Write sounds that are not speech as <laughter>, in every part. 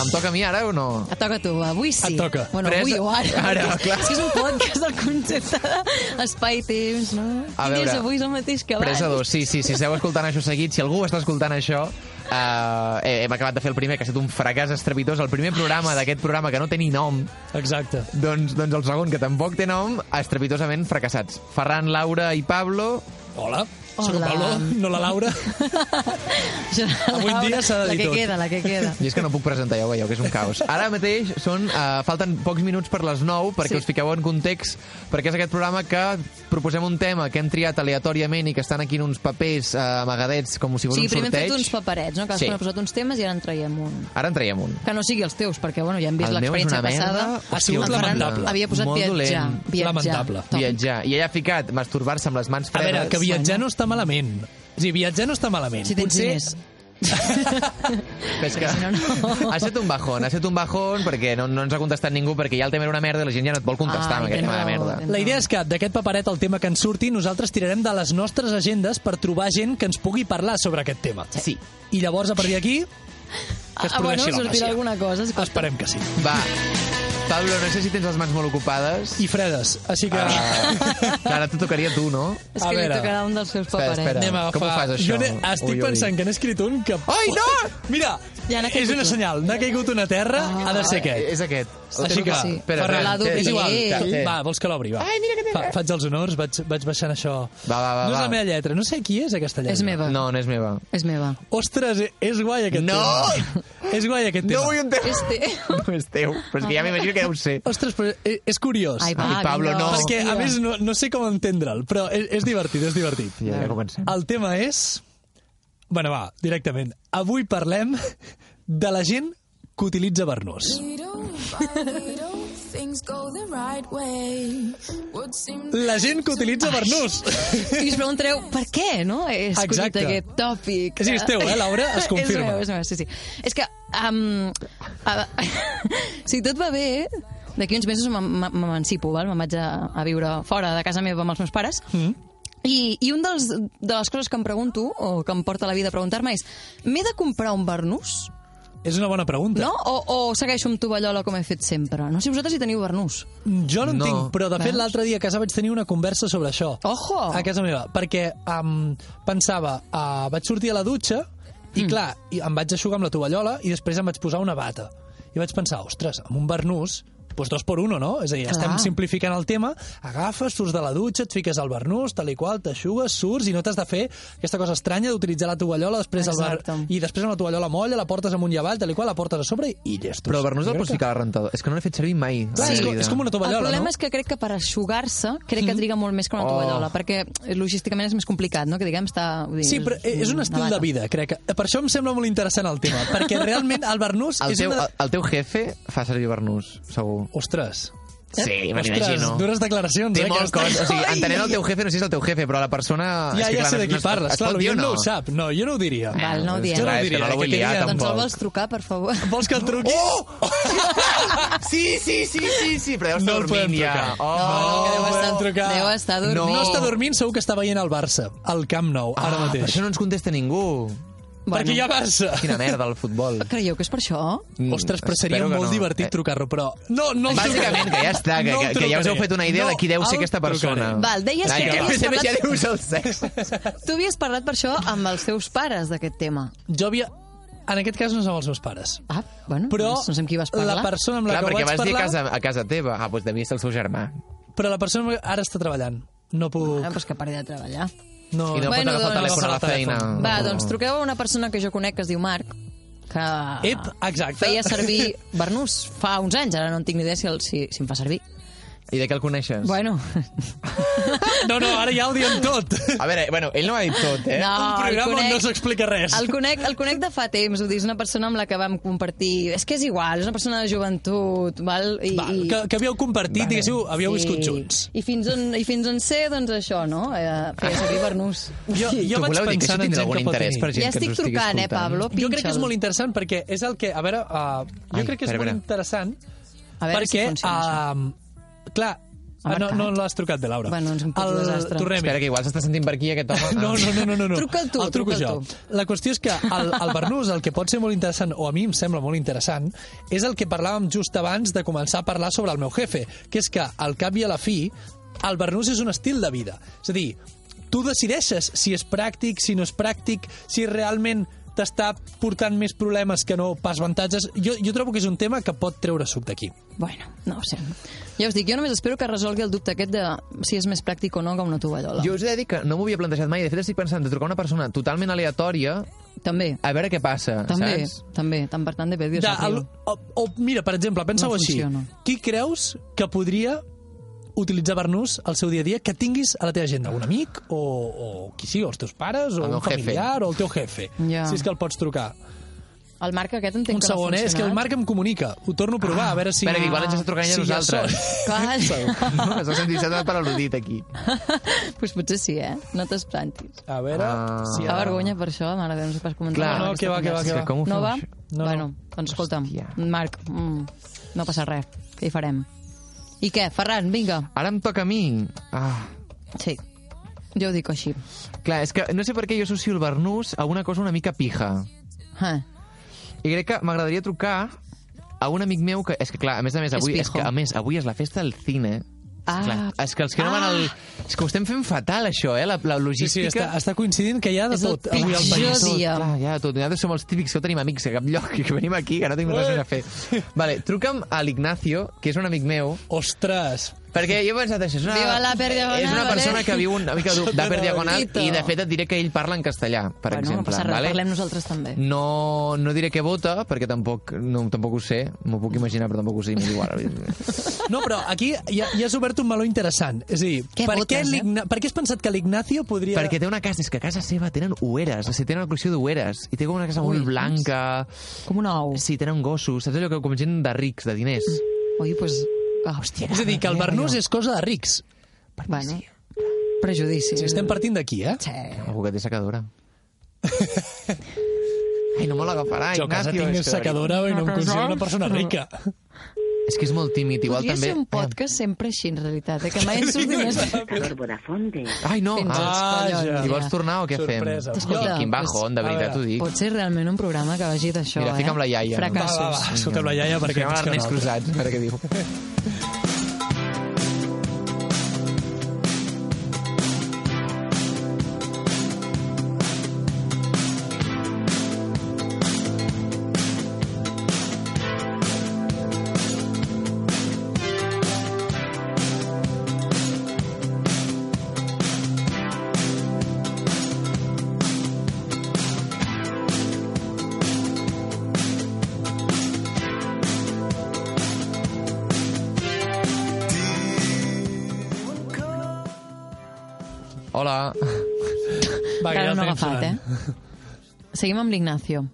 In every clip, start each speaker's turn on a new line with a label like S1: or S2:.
S1: Em toca a mi ara o no?
S2: Et toca a tu, avui sí.
S3: Et toca.
S2: Bueno,
S1: Però és-
S2: avui o ara.
S1: <laughs>
S2: <laughs>
S1: ara,
S2: perquè
S1: clar.
S2: És que és un podcast del concepte d'espai-temps, no?
S1: A
S2: I
S1: veure,
S2: és avui és el mateix que abans.
S1: Presa 2,
S2: <laughs>
S1: sí, sí, si esteu escoltant això seguit, si algú està escoltant això, eh, he- hem acabat de fer el primer, que ha estat un fracàs estrepitós, el primer programa d'aquest programa que no té ni nom,
S3: Exacte.
S1: doncs, doncs el segon, que tampoc té nom, estrepitosament fracassats. Ferran, Laura i Pablo...
S3: Hola. Soc el
S2: Hola.
S3: Pablo, no la Laura. Avui en dia s'ha de
S2: La
S3: dir
S2: que
S3: tot.
S2: queda, la que queda.
S1: I és que no puc presentar, ja ho veieu, que és un caos. Ara mateix són, uh, falten pocs minuts per les 9 perquè
S2: Sí.
S1: sí. us fiqueu en context, perquè és aquest programa que proposem un tema que hem triat aleatòriament i que estan aquí en uns papers uh, amagadets com si fos
S2: Sí,
S1: un
S2: primer hem
S1: sorteig.
S2: fet uns paperets, no? Cadascú
S1: Sí.
S2: sí. ha posat uns temes i ara en traiem un.
S1: Ara en traiem un.
S2: Que no sigui els teus, perquè, bueno, ja hem vist
S1: El meu és
S2: l'experiència
S1: una merda.
S2: passada.
S3: Ha sigut
S2: El Ferran
S3: lamentable.
S2: Havia posat
S1: Molt
S2: viatjar.
S1: dolent.
S2: viatjar.
S3: Lamentable.
S2: Top.
S1: Viatjar. I ella ha ficat masturbar-se amb les mans
S3: A
S1: fredes.
S3: veure, que viatjar no està malament. O sigui, viatjar no està malament.
S2: Si tens
S3: Potser-
S1: <laughs>
S2: diners.
S1: És que...
S2: si no, no.
S1: Ha estat un bajón, ha estat un bajón perquè no, no ens ha contestat ningú perquè ja el tema era una merda i la gent ja no et vol contestar
S2: Ai,
S1: amb aquest
S2: que
S1: tema de
S2: no,
S1: merda.
S2: que no.
S3: La idea és que d'aquest paperet, el tema que ens surti, nosaltres tirarem de les nostres agendes per trobar gent que ens pugui parlar sobre aquest tema.
S1: Sí.
S3: I llavors, a partir d'aquí, que es
S2: ah, bueno,
S3: produeixi la
S2: sortirà
S3: màgia.
S2: alguna cosa. escolta.
S3: Esperem que sí.
S1: Va, Pablo, no sé si tens les mans molt ocupades.
S3: I fredes, així que...
S1: Ah, ara t'ho tocaria a tu, no?
S2: És
S3: A
S2: que li
S3: veure.
S2: tocarà un dels seus paperets.
S1: espera.
S3: Anem a agafar...
S1: Com ho fas, això?
S3: Jo ne... estic
S1: Ui, ui.
S3: pensant que n'he escrit un que...
S1: Ai, no!
S3: Mira,
S2: Ja n'ha
S3: és
S2: caigut
S3: una
S2: un. Ah.
S3: senyal. N'ha caigut una terra, ha de ser aquest.
S1: És aquest.
S3: Així que,
S2: Sí.
S1: Espera,
S3: Ferran,
S2: La
S1: espera,
S2: dubli.
S3: és igual.
S2: Eh.
S1: Té, té.
S3: Va, vols que l'obri, va.
S1: Ai, mira que té.
S3: Fa, faig els honors, vaig, vaig baixant això.
S1: Va, va, va,
S3: no és
S1: va.
S3: la meva lletra, no sé qui és aquesta lletra.
S2: És meva.
S1: No, no és meva.
S2: És meva.
S3: Ostres, e- és guai aquest
S1: No!
S3: tema. És guai aquest tema.
S1: un tema.
S2: És té.
S1: <laughs> No és teu, però és que ja m'imagino que deu ser.
S3: Ostres, però e- és curiós.
S2: Ai, va,
S1: Ai, Pablo,
S2: vinga,
S1: no.
S3: perquè, a
S2: hòstia.
S3: més, no, no sé com entendre'l, però és, és divertit, és divertit.
S1: Ja, ja comencem.
S3: El tema és... Bueno, va, directament. Avui parlem de la gent que utilitza Bernós. La gent que utilitza
S2: <laughs>
S3: Bernós.
S2: I us preguntareu, per què, no? Eh, He escollit
S3: Exacte.
S2: aquest tòpic.
S3: Sí, és teu, eh, Laura? Es confirma.
S2: <laughs> és meu, és meu, sí, sí. És que, um, a, <laughs> si tot va bé, d'aquí uns mesos m'em- m'emancipo, val? Me'n vaig a, a viure fora de casa meva amb els meus pares. Mm. I, i un dels, de les coses que em pregunto, o que em porta la vida a preguntar-me, és m'he de comprar un barnús?
S3: És una bona pregunta.
S2: No? O, o segueixo amb tovallola com he fet sempre? No sé vosaltres hi teniu barnús.
S3: Jo no en
S1: No.
S3: tinc, però de fet
S2: Veus?
S3: l'altre dia a casa vaig tenir una conversa sobre això.
S2: Ojo!
S3: A casa meva, perquè um, pensava, uh, vaig sortir a la dutxa i mm. clar, i em vaig aixugar amb la tovallola i després em vaig posar una bata. I vaig pensar, ostres, amb un barnús, doncs dos per uno, no? És a dir,
S2: Clar.
S3: estem simplificant el tema, agafes, surts de la dutxa, et fiques al barnús, tal i qual, t'aixugues, surts i no t'has de fer aquesta cosa estranya d'utilitzar la tovallola després el bar...
S2: Exacte.
S3: i després amb la tovallola molla, la portes amunt i avall, tal i qual, la portes a sobre i llestos.
S1: Però el Bernús el
S3: Jo
S1: pots
S3: crec que-
S1: ficar a la rentadora. És que no l'he fet servir mai. a la
S3: Clar, és,
S1: meva
S3: com,
S1: vida.
S3: és com una
S2: el
S3: tovallola,
S2: problema
S3: no? Mm.
S2: és que crec que per aixugar-se crec que triga molt més que una
S1: Oh.
S2: tovallola, perquè logísticament és més complicat, no? Que diguem, està... vull dir,
S3: Sí, però és un
S2: una
S3: estil
S2: bata.
S3: de vida, crec. que- Per això em sembla molt interessant el tema, perquè realment el Bernús
S1: El
S3: és
S1: teu,
S3: una...
S1: el, el teu jefe fa servir Bernús, segur.
S3: Ostres,
S1: Sí, me
S3: Eh? ostres,
S1: n'imagino.
S3: dures declaracions.
S1: Té
S3: eh,
S1: molt
S3: aquesta.
S1: cosa. O sigui,
S3: Ai!
S1: entenent el teu jefe, no sé si és el teu jefe, però la persona... és
S3: Ja,
S1: que,
S3: ja
S1: clar,
S3: sé
S1: no-
S3: de qui
S1: no es pot-
S3: parles,
S1: es pot
S3: clar,
S1: dir o
S3: l'oient no
S1: no?
S3: ho sap. No, jo no ho diria.
S2: Val, no ho
S1: és
S2: diré.
S1: que, clar, és
S3: Jo no ho
S1: que
S3: diria,
S1: no la
S3: que
S1: vull
S3: quedi
S1: liar,
S3: clar,
S2: Doncs el
S1: tampoc.
S2: vols trucar, per favor? <laughs>
S3: Vols que el truqui?
S1: Oh! Sí, sí, sí, sí, sí, però Oh. deu estar
S3: No el podem
S1: dormint ja.
S3: trucar.
S2: No, que deu
S3: podem
S2: estar-
S3: trucar.
S2: deu estar
S3: No.
S2: dormint.
S3: no està dormint, segur que està veient el Barça, al Camp Nou,
S1: Oh, Ah,
S3: ara
S1: per
S3: mateix.
S1: això no ens contesta ningú.
S3: Perquè hi ha Barça.
S1: Quina merda, el futbol.
S2: Creieu que és per això?
S1: Mm,
S3: Ostres, però seria
S1: espero que no.
S3: molt divertit
S1: Eh,
S3: trucar-lo, però... No, no el
S1: Bàsicament,
S3: trucaré.
S1: que ja està, que,
S3: No el
S1: que, que ja us heu
S3: trucaré.
S1: fet una idea
S3: No
S1: de qui deu ser
S3: el
S1: aquesta persona.
S3: trucaré.
S2: Val, deies que
S1: ja,
S2: havies
S1: ja, ja
S2: parlat-
S1: dius el sexe.
S2: Tu havies parlat per això amb els teus pares d'aquest tema.
S3: Jo havia... En aquest cas no som els meus pares.
S2: Ah, bueno,
S3: Però
S2: no sé amb qui vas parlar.
S3: la persona amb la
S1: Clar,
S3: que
S1: perquè
S3: vaig
S1: vas dir a
S3: parlar...
S1: casa, a casa teva. Ah, doncs devia ser el seu germà.
S3: Però la persona amb la que ara està treballant. No puc...
S2: Ah, però és que paré de treballar.
S3: No,
S1: I no pot
S2: Bueno,
S1: agafar el
S2: doncs-
S1: telèfon a la feina. Oh.
S2: Va, doncs truqueu a una persona que jo conec que es diu Marc, que
S3: Ep, exacte.
S2: feia servir Bernús fa uns anys, ara no en tinc ni idea si, el, si, si em fa servir.
S1: I de què el coneixes?
S2: Bueno,
S3: <laughs> No, no, ara ja ho diem tot.
S1: A veure, bueno, ell no m'ha dit tot, eh?
S2: No,
S3: Un
S2: el
S3: programa on
S2: conec.
S3: no s'explica res.
S2: el conec, el conec de fa temps, ho dic, és una persona amb la que vam compartir... És que és igual, és una persona de joventut, val? I,
S3: Va, que, que havíeu compartit,
S1: Vale.
S3: diguéssiu, havíeu
S2: i-
S3: viscut
S1: <laughs>
S3: junts.
S2: I fins on, i fins on sé, doncs això, no? Eh, feia servir Bernús.
S3: Jo,
S1: Tu
S3: jo vaig
S1: voleu dir que això
S3: pensar en
S1: tindrà
S3: gent
S1: algun
S3: que pot
S1: interès
S3: tenir.
S1: per gent
S2: Ja
S1: que ens
S2: estic
S1: ho estigui
S2: trucant, eh,
S1: escoltant?
S2: Pablo?
S3: Jo crec que és
S2: Pinxa'l.
S3: molt interessant perquè és el que... A veure, uh, jo
S1: Ai,
S3: crec que és
S1: espera,
S3: molt
S1: espera.
S3: interessant
S2: A veure si
S3: perquè, ah,
S2: funciona,
S3: um, clar,
S2: Ha
S3: Ah, no,
S2: marcat.
S3: no l'has trucat bé, Laura.
S2: Bueno, és un puto
S3: El
S2: desastre.
S3: Torremi.
S1: Espera, que igual s'està sentint per aquí aquest home.
S3: <laughs> No, no, no, no, no. no.
S2: Truca'l tu,
S3: el truco
S2: truca'l
S3: jo.
S2: tu.
S3: La qüestió és que el, el Bernús, el que pot ser molt interessant, o a mi em sembla molt interessant, és el que parlàvem just abans de començar a parlar sobre el meu jefe, que és que, al cap i a la fi, el Bernús és un estil de vida. És a dir, tu decideixes si és pràctic, si no és pràctic, si realment t'està portant més problemes que no pas avantatges. Jo, jo trobo que és un tema que pot treure suc d'aquí.
S2: Bueno, no ho sé. Ja us dic, jo només espero que resolgui el dubte aquest de si és més pràctic o no que una tovallola.
S1: Jo us he de dir que no m'ho havia plantejat mai. De fet, estic pensant de trucar a una persona totalment aleatòria
S2: També,
S1: a veure què passa,
S2: també, <laughs>
S1: saps?
S2: també, tant per tant de pedir
S3: de, el, o, o, mira, per exemple, pensa-ho
S2: No
S3: així.
S2: funciona.
S3: Qui creus que podria utilitzar Bernús al seu dia a dia que tinguis a la teva agenda? Un amic o, o qui sigui, o els teus pares, o
S1: El meu
S3: un familiar, o el teu jefe.
S2: Ja.
S3: Si és que el pots trucar.
S2: El Marc aquest entenc
S3: un
S2: que no ha
S3: segon, eh? És que el
S2: funcionat.
S3: Marc em comunica. Ho torno a provar, a veure si...
S1: Ah. Espera, que igual ens està trucant ell a
S3: si ja
S1: nosaltres.
S3: sóc.
S2: Clar.
S1: No, s'ha sentit s'ha donat per al·ludit aquí.
S2: <laughs> pues potser sí, eh? No t'espantis.
S3: A veure...
S1: Ah.
S3: si
S2: Fa vergonya per això, mare de Déu, no sé pas comentar.
S1: Clar. No, no,
S2: aquesta
S3: que va, que va,
S1: va.
S2: conversa.
S3: que
S1: Com ho
S2: No
S1: fem,
S2: va?
S1: això?
S3: No,
S2: No, bueno,
S3: no.
S2: doncs escolta'm,
S1: Hòstia.
S2: Marc, mm, no passa res, què hi farem? I què, Ferran, vinga.
S1: Ara em toca a mi. Ah.
S2: Sí, jo ho dic així.
S1: Clar, és que no sé per què jo associo el Bernús a una cosa una mica pija.
S2: Eh.
S1: I crec que m'agradaria trucar a un amic meu que... És que, clar, a més a més, avui,
S2: És
S1: és, que,
S2: pijo.
S1: a més, avui és la festa del cine.
S2: Ah.
S1: Clar, és que els que no van
S2: Ah.
S1: al... És que ho estem fent fatal, això, eh? La, la
S3: Sí,
S1: logística...
S3: sí, està, està coincidint que hi ha de
S2: És el
S3: tot avui al
S2: pitjor
S3: país.
S1: tot,
S2: dia.
S1: clar, ja, tot. Nosaltres som els típics que no tenim amics a cap lloc i que venim aquí, que no tenim res més a
S3: <laughs>
S1: fer. Vale, truca'm a l'Ignacio, que és un amic meu,
S3: Ostres!
S1: perquè jo he pensat això. És una,
S2: Viva l'Upper Diagonal,
S1: és una persona
S2: eh?
S1: que viu una mica d'Upper Diagonal
S2: Tito.
S1: i, de fet, et diré que ell parla en castellà, per
S2: bueno,
S1: exemple.
S2: no passa res,
S1: vale? Mm.
S2: parlem nosaltres també.
S1: No, no diré què vota, perquè tampoc, no, tampoc ho sé, m'ho puc imaginar, però tampoc ho sé, i m'és igual.
S2: <laughs>
S3: No, però aquí ja, ja has obert un meló interessant. És a dir,
S2: Què
S3: per,
S2: votes,
S3: què
S2: eh?
S3: l'Igna- per què has pensat que l'Ignacio podria...
S1: Perquè té una casa, és que a casa seva tenen oeres, o sigui, tenen una col·lecció d'oeres, i té com una casa molt
S2: Ui, doncs.
S1: blanca,
S2: Com un ou.
S1: sí, tenen gossos, saps allò que com gent de rics, de diners.
S2: Ui, pues... Ah, hòstia.
S3: És a dir, que el Bernús és cosa de rics.
S2: Bueno, prejudici.
S3: Si estem partint d'aquí, eh?
S2: Sí.
S1: Algú que té
S2: <laughs>
S1: secadora. Ai, no me l'agafarà,
S3: Jo a casa
S1: Ignacio.
S3: tinc
S1: és que de
S3: secadora i no em considero una persona rica. <laughs>
S1: veritat- És que és molt tímid, igual
S2: Podria
S1: també... eh?
S2: ser un podcast sempre així, en realitat, eh? que mai ens surti més...
S4: Por Vodafone de
S1: Eh, Ai, no! Ah,
S2: Fins als
S3: Ah, ja.
S1: I vols
S2: collons, ja.
S1: tornar o què
S3: Sorpresa.
S1: fem?
S2: Escolta,
S1: Quin bajón, de
S3: pues, a
S1: veritat t'ho
S3: veure.
S1: dic.
S2: Pot ser realment un programa que vagi d'això,
S1: Mira,
S2: eh?
S1: fica'm la iaia.
S3: Va,
S2: Fracassos.
S3: va, va, escolta'm la iaia perquè...
S1: Fem
S3: veig Doncs que
S1: l'Ernest
S3: no.
S1: Cruzat, a veure què diu. Hola.
S3: Va, que
S2: Encara no
S3: ja el
S2: ha
S3: tenim
S2: agafat,
S3: sonant.
S2: eh? Seguim amb l'Ignacio,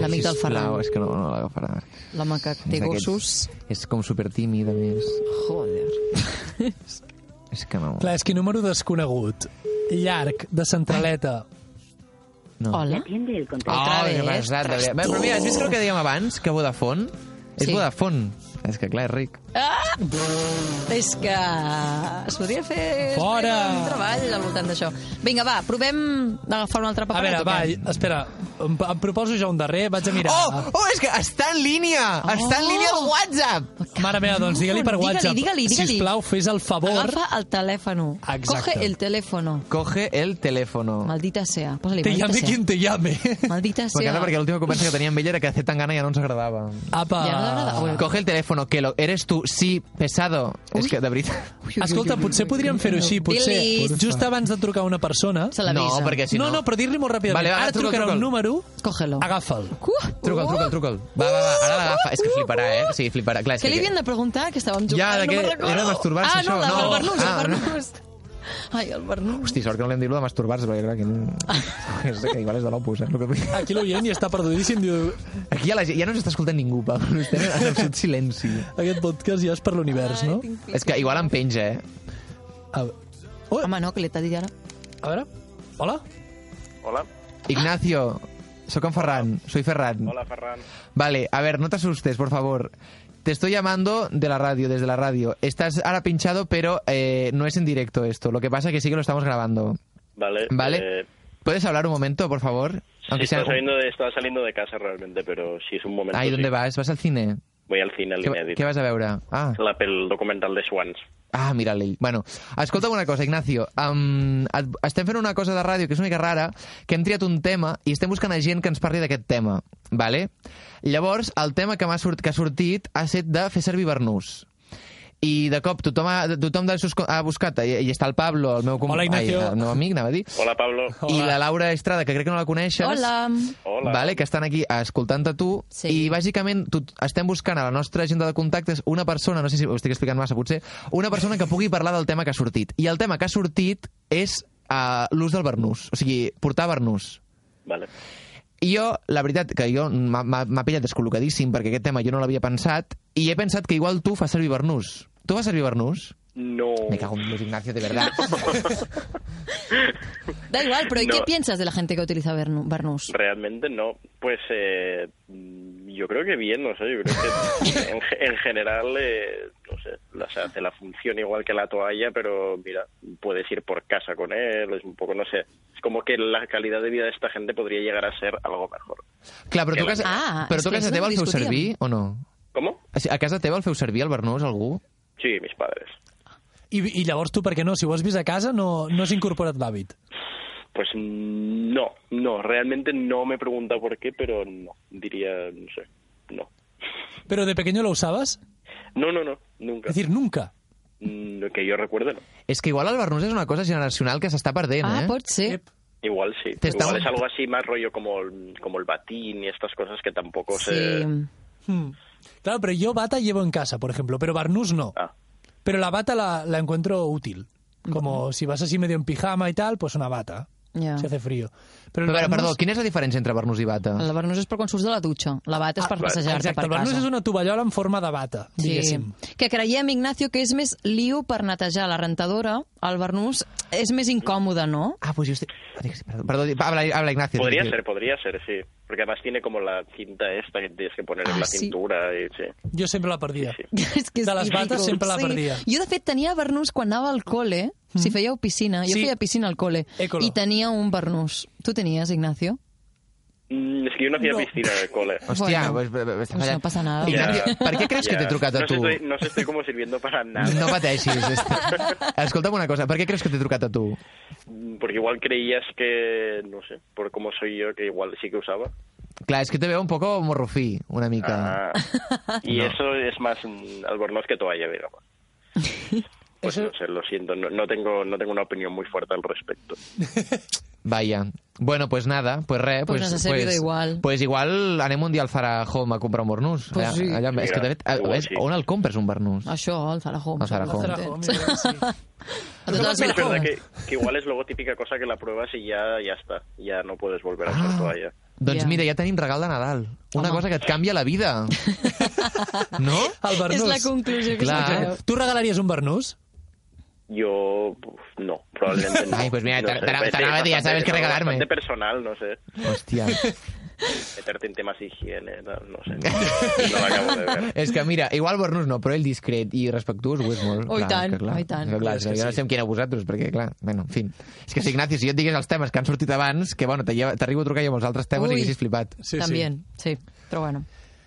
S2: l'amic del
S1: Sisplau,
S2: Ferran,
S1: és que no, no l'agafarà.
S2: l'home que té
S1: És d'aquests-
S2: gossos.
S1: És com supertímid, a més.
S2: Joder.
S1: És que no...
S3: Clar, és que número desconegut. Llarg, de centraleta.
S1: no.
S2: Hola?
S4: atiende el contenido.
S1: Oh,
S2: Otra
S1: que
S2: vez.
S1: pesat, de veritat. Bé, Però mira, has vist el que dèiem abans, que Vodafone? És
S2: Sí.
S1: Vodafone. És que clar, és ric.
S2: Ah! És que es podria fer
S3: Fora!
S2: un treball al voltant d'això. Vinga, va, provem d'agafar un altre paper.
S3: A veure, va, espera. Em, em proposo jo un darrer, vaig a mirar.
S1: Oh, oh, és que està en línia! Està en línia
S2: Oh.
S1: al WhatsApp!
S3: Mare meva, doncs digue-li per
S2: Digue-li,
S3: WhatsApp.
S2: digue-li, digue-li.
S3: Sisplau, fes el favor.
S2: Agafa el telèfon.
S3: Exacte.
S2: Coge el teléfono.
S1: Coge el teléfono.
S2: Maldita sea. Posa-li,
S3: Te
S2: maldita
S3: llame
S2: sea.
S3: quien te llame.
S2: Maldita sea.
S1: M'encanta perquè l'última conversa que tenia amb ell era que Zetangana ja no ens agradava.
S3: Apa.
S2: Ja no t'agrada? Ui,
S1: Coge el teléfono, que lo eres tu, sí, pesado. És que, de veritat...
S3: Escolta, potser podríem fer-ho així, potser.
S2: Dili.
S3: Just abans de trucar a una persona...
S2: Se l'avisa.
S1: No, perquè si
S3: no,
S1: no...
S3: no, però dir-li molt ràpidament.
S1: Vale, va,
S3: Ara
S1: truca'l,
S3: trucarà
S1: truca'l.
S3: un número,
S2: Cógelo.
S3: agafa'l.
S2: Uh,
S1: Truca'l, truca'l, truca'l. Va, va, va, ara l'agafa. És que fliparà, eh? Sí, fliparà. Clar, és
S2: Què li
S1: que-
S2: havien de preguntar? Que estàvem jugant,
S1: Ja, de
S2: no
S1: què?
S2: me'n recordo.
S1: Era masturbar-se,
S2: ah,
S1: això,
S2: Ah, no,
S1: no.
S2: el Bernús,
S1: Ah,
S2: el
S1: no.
S2: Bernús. Ai, el Bernús.
S1: Hosti, sort que no li hem dit lo de masturbar-se, perquè clar, que, és que igual és de l'opus, eh? el Que... vull dir.
S3: Aquí l'oient i està perdudíssim, diu...
S1: Aquí ja, la, gent- ja no ens està escoltant ningú, Pau. <laughs> Estem en absolut silenci.
S3: Aquest podcast ja és per l'univers, no?
S1: És que igual em penja, eh?
S3: A, oh,
S2: Home, no, que l'he t'ha dit ara.
S3: a veure, hola?
S5: Hola.
S1: Ignacio, sóc en Ferran, soy Ferran.
S5: Hola, Ferran.
S1: Vale, a ver, no te asustes, por favor. Te estoy llamando de la radio, desde la radio. Estás ahora pinchado, pero eh, no es en directo esto. Lo que pasa es que sí que lo estamos grabando.
S4: Vale.
S1: ¿Vale?
S4: eh,
S1: ¿Puedes hablar un momento, por favor?
S4: sí,
S1: sea-
S4: estaba, saliendo de, estaba saliendo de casa realmente, pero sí es un momento.
S1: Ai,
S4: sí.
S1: ¿dónde vas? Vas al cine?
S4: Voy al cine, al
S1: Què,
S4: inèdit.
S1: què vas a veure? Ah,
S4: La, pel documental de Swans.
S1: ah mira-li. Bueno, escolta'm una cosa, Ignacio. Um, et, estem fent una cosa de ràdio que és una mica rara, que hem triat un tema i estem buscant a gent que ens parli d'aquest tema, ¿vale? Llavors, el tema que, m'ha sort, que ha sortit ha set de fer servir Bernús. I de cop tothom ha, tothom dels seus co- ha buscat, i, i està el Pablo, el meu company,
S3: Hola, Ignacio.
S1: el meu amic, anava a dir,
S4: Hola, Pablo.
S1: <laughs> i la Laura Estrada, que crec que no la coneixes.
S2: Hola.
S4: Hola.
S1: Vale, que estan aquí escoltant-te tu
S2: Sí.
S1: i bàsicament tu, estem buscant a la nostra agenda de contactes una persona, no sé si ho estic explicant massa potser, una persona que pugui parlar del tema que ha sortit. I el tema que ha sortit és uh, l'ús del Bernús, o sigui, portar Bernús.
S4: Vale.
S1: I jo, la veritat, que jo m'ha- m'ha m'ha pillat descol·locadíssim perquè aquest tema jo no l'havia pensat i he pensat que igual tu fas servir Bernús. Tu fas servir Bernús?
S4: No.
S2: Oh.
S1: Me cago en Luis Ignacio, de
S2: <laughs>
S1: verdad.
S2: Da igual, pero ¿y
S4: No.
S2: qué piensas de la gente que utiliza Bernu- Bernus?
S4: Realmente no. Pues eh, mm, yo creo que bien, no sé, yo creo
S1: <laughs>
S4: que en, ge- en general, eh, no sé, la- se hace la función igual que la toalla, pero mira, puedes ir por casa con él, es un poco, no sé, es como que la calidad de vida de esta gente podría llegar a ser algo mejor.
S1: Clar, però tu, a casa,
S2: Ah,
S1: però
S2: és
S1: tu a
S2: que
S1: casa
S2: això
S1: teva
S2: ho
S1: el feu
S2: discutíem.
S1: servir o no?
S4: ¿Cómo?
S1: O sigui, A casa teva el feu servir el Bernús, algú?
S4: Sí, mis padres.
S3: I, I llavors tu, per què no? Si ho has vist a casa, no, no has incorporat l'hàbit.
S4: Pues mm, no, no, realmente no me pregunta por qué, pero no, diría, no sé, no.
S3: Però de pequeño lo usabas?
S4: No, no, no, nunca.
S3: Es decir, nunca.
S4: Mm, que yo recuerde, no.
S1: És que igual el Bernús és una cosa generacional que s'està perdent,
S2: Ah,
S1: eh?
S2: pot ser.
S3: Ep.
S4: Igual sí.
S1: Te
S4: Igual
S1: estamos-
S4: es algo así más rollo como el, como el batín y estas cosas que tampoco
S2: Sí.
S4: se...
S3: Hmm. Claro, pero yo bata llevo en casa, por ejemplo, pero barnús no.
S4: Ah,
S3: Pero la bata la, la encuentro útil. Como si vas así medio en pijama y tal, pues una bata.
S2: Ya.
S3: Si hace frío. Pero el
S1: Però a veure,
S3: barnús-
S1: perdó, quina és la diferència entre Bernús i Bata?
S2: El Bernus és per quan surts de la dutxa. La bata és per
S4: Ah,
S2: passejar-te
S3: Exacte,
S2: per
S3: el barnús
S2: casa.
S3: és una tovallola en forma de bata,
S2: Sí.
S3: diguéssim.
S2: Que creiem, Ignacio, que és més lío per netejar la rentadora. El Bernús és més incòmode, no?
S1: Ah, pues jo estic... Perdó, perdó di- habla, habla Ignacio.
S4: podría
S1: sí, sí.
S4: ser, podría ser, sí. Porque además tiene como la cinta esta que tienes que poner
S2: Ah,
S4: en la
S2: sí.
S4: cintura y sí.
S3: Jo sempre la perdia.
S4: Sí,
S2: <laughs> és que és
S3: De les
S2: ridícul,
S3: bates sempre la perdia. Mm-hmm.
S2: Sí. Jo, de fet, tenia Bernús quan anava al col·le, si fèieu piscina. Jo
S3: Sí.
S2: feia piscina al col·le.
S3: Écolo.
S2: I tenia un Bernús. Tu tenies, Ignacio?
S4: Mm, es que yo no hacía piscina en el cole.
S1: Hòstia,
S2: Bueno.
S1: pues, pues,
S2: Pues no passa nada. <laughs>
S1: Ignacio,
S4: Ya.
S1: per què creus que
S4: Ya.
S1: t'he trucat a
S4: no se
S1: tu?
S4: Estoy, no se estoy como sirviendo para nada.
S1: No pateixis.
S4: <laughs>
S1: Est... Escolta'm una cosa, per què creus que t'he trucat a tu?
S4: Mm, Porque igual creías que, no sé, por cómo soy yo, que igual sí que usaba.
S1: Clar, és que te veo un poco morrofí, una mica.
S4: Ah.
S1: <laughs>
S4: Y eso es más mm, albornoz que toalla, digamos. Pues
S3: Eso-
S4: no sé, lo siento, no, no tengo no tengo una opinión muy fuerte al respecto.
S1: Vaya. Bueno, pues nada, pues res.
S2: Pues nos ha servido igual.
S1: Pues igual anem un dia al Zara Home a comprar un Bernús.
S2: Pues sí.
S1: Allà, allà, és que, de fet, a, a,
S4: Mira, igual
S1: veure,
S4: sí.
S1: on el compres, un Bernús?
S2: Això, el Zara Home.
S1: El Zara
S2: segur
S1: Home.
S2: que
S3: Serà
S2: ho
S3: home,
S2: tens. <laughs>
S3: sí.
S2: A totes les
S4: Pero es
S2: Zara
S4: verdad
S2: Home.
S4: que, que igual es luego típica cosa que la pruebas y ya, ya está, ya no puedes volver a hacer
S1: Ah.
S4: toalla.
S1: Doncs
S2: Ja.
S1: mira, ja tenim regal de Nadal. Una
S2: Home.
S1: cosa que et canvia la
S2: <laughs>
S1: vida. No?
S3: El
S2: És la
S3: barnús.
S2: conclusió que
S1: Clar.
S2: s'ha
S3: Ah, Tu regalaries un barnús?
S4: Yo, uf, no, probablemente no.
S1: Ay, pues mira,
S4: No
S1: te-
S4: sé,
S1: te-
S4: parece
S1: te- ya
S4: bastante-
S1: sabes qué
S4: es algo
S1: regalarme.
S4: bastante personal, no sé,
S1: Hòstia.
S4: meterte en temas de higiene, tal,
S1: <laughs>
S4: no sé, no lo acabo de ver.
S1: És que mira, igual Bernús no, però ell discret i respectuós ho és molt.
S2: Oh, i tant,
S1: que clar,
S2: oh, i tant.
S1: Que clar,
S3: És
S1: és que
S3: que
S1: jo no
S3: sí.
S1: sé amb qui era vosaltres, perquè clar, bueno, en fin. És que si Ignacio, si jo et digués els temes que han sortit abans, que bueno, te lleva- t'arribo a trucar jo amb els altres temes
S2: Ui.
S1: i haguessis flipat.
S3: Sí,
S2: També, sí. Però bueno.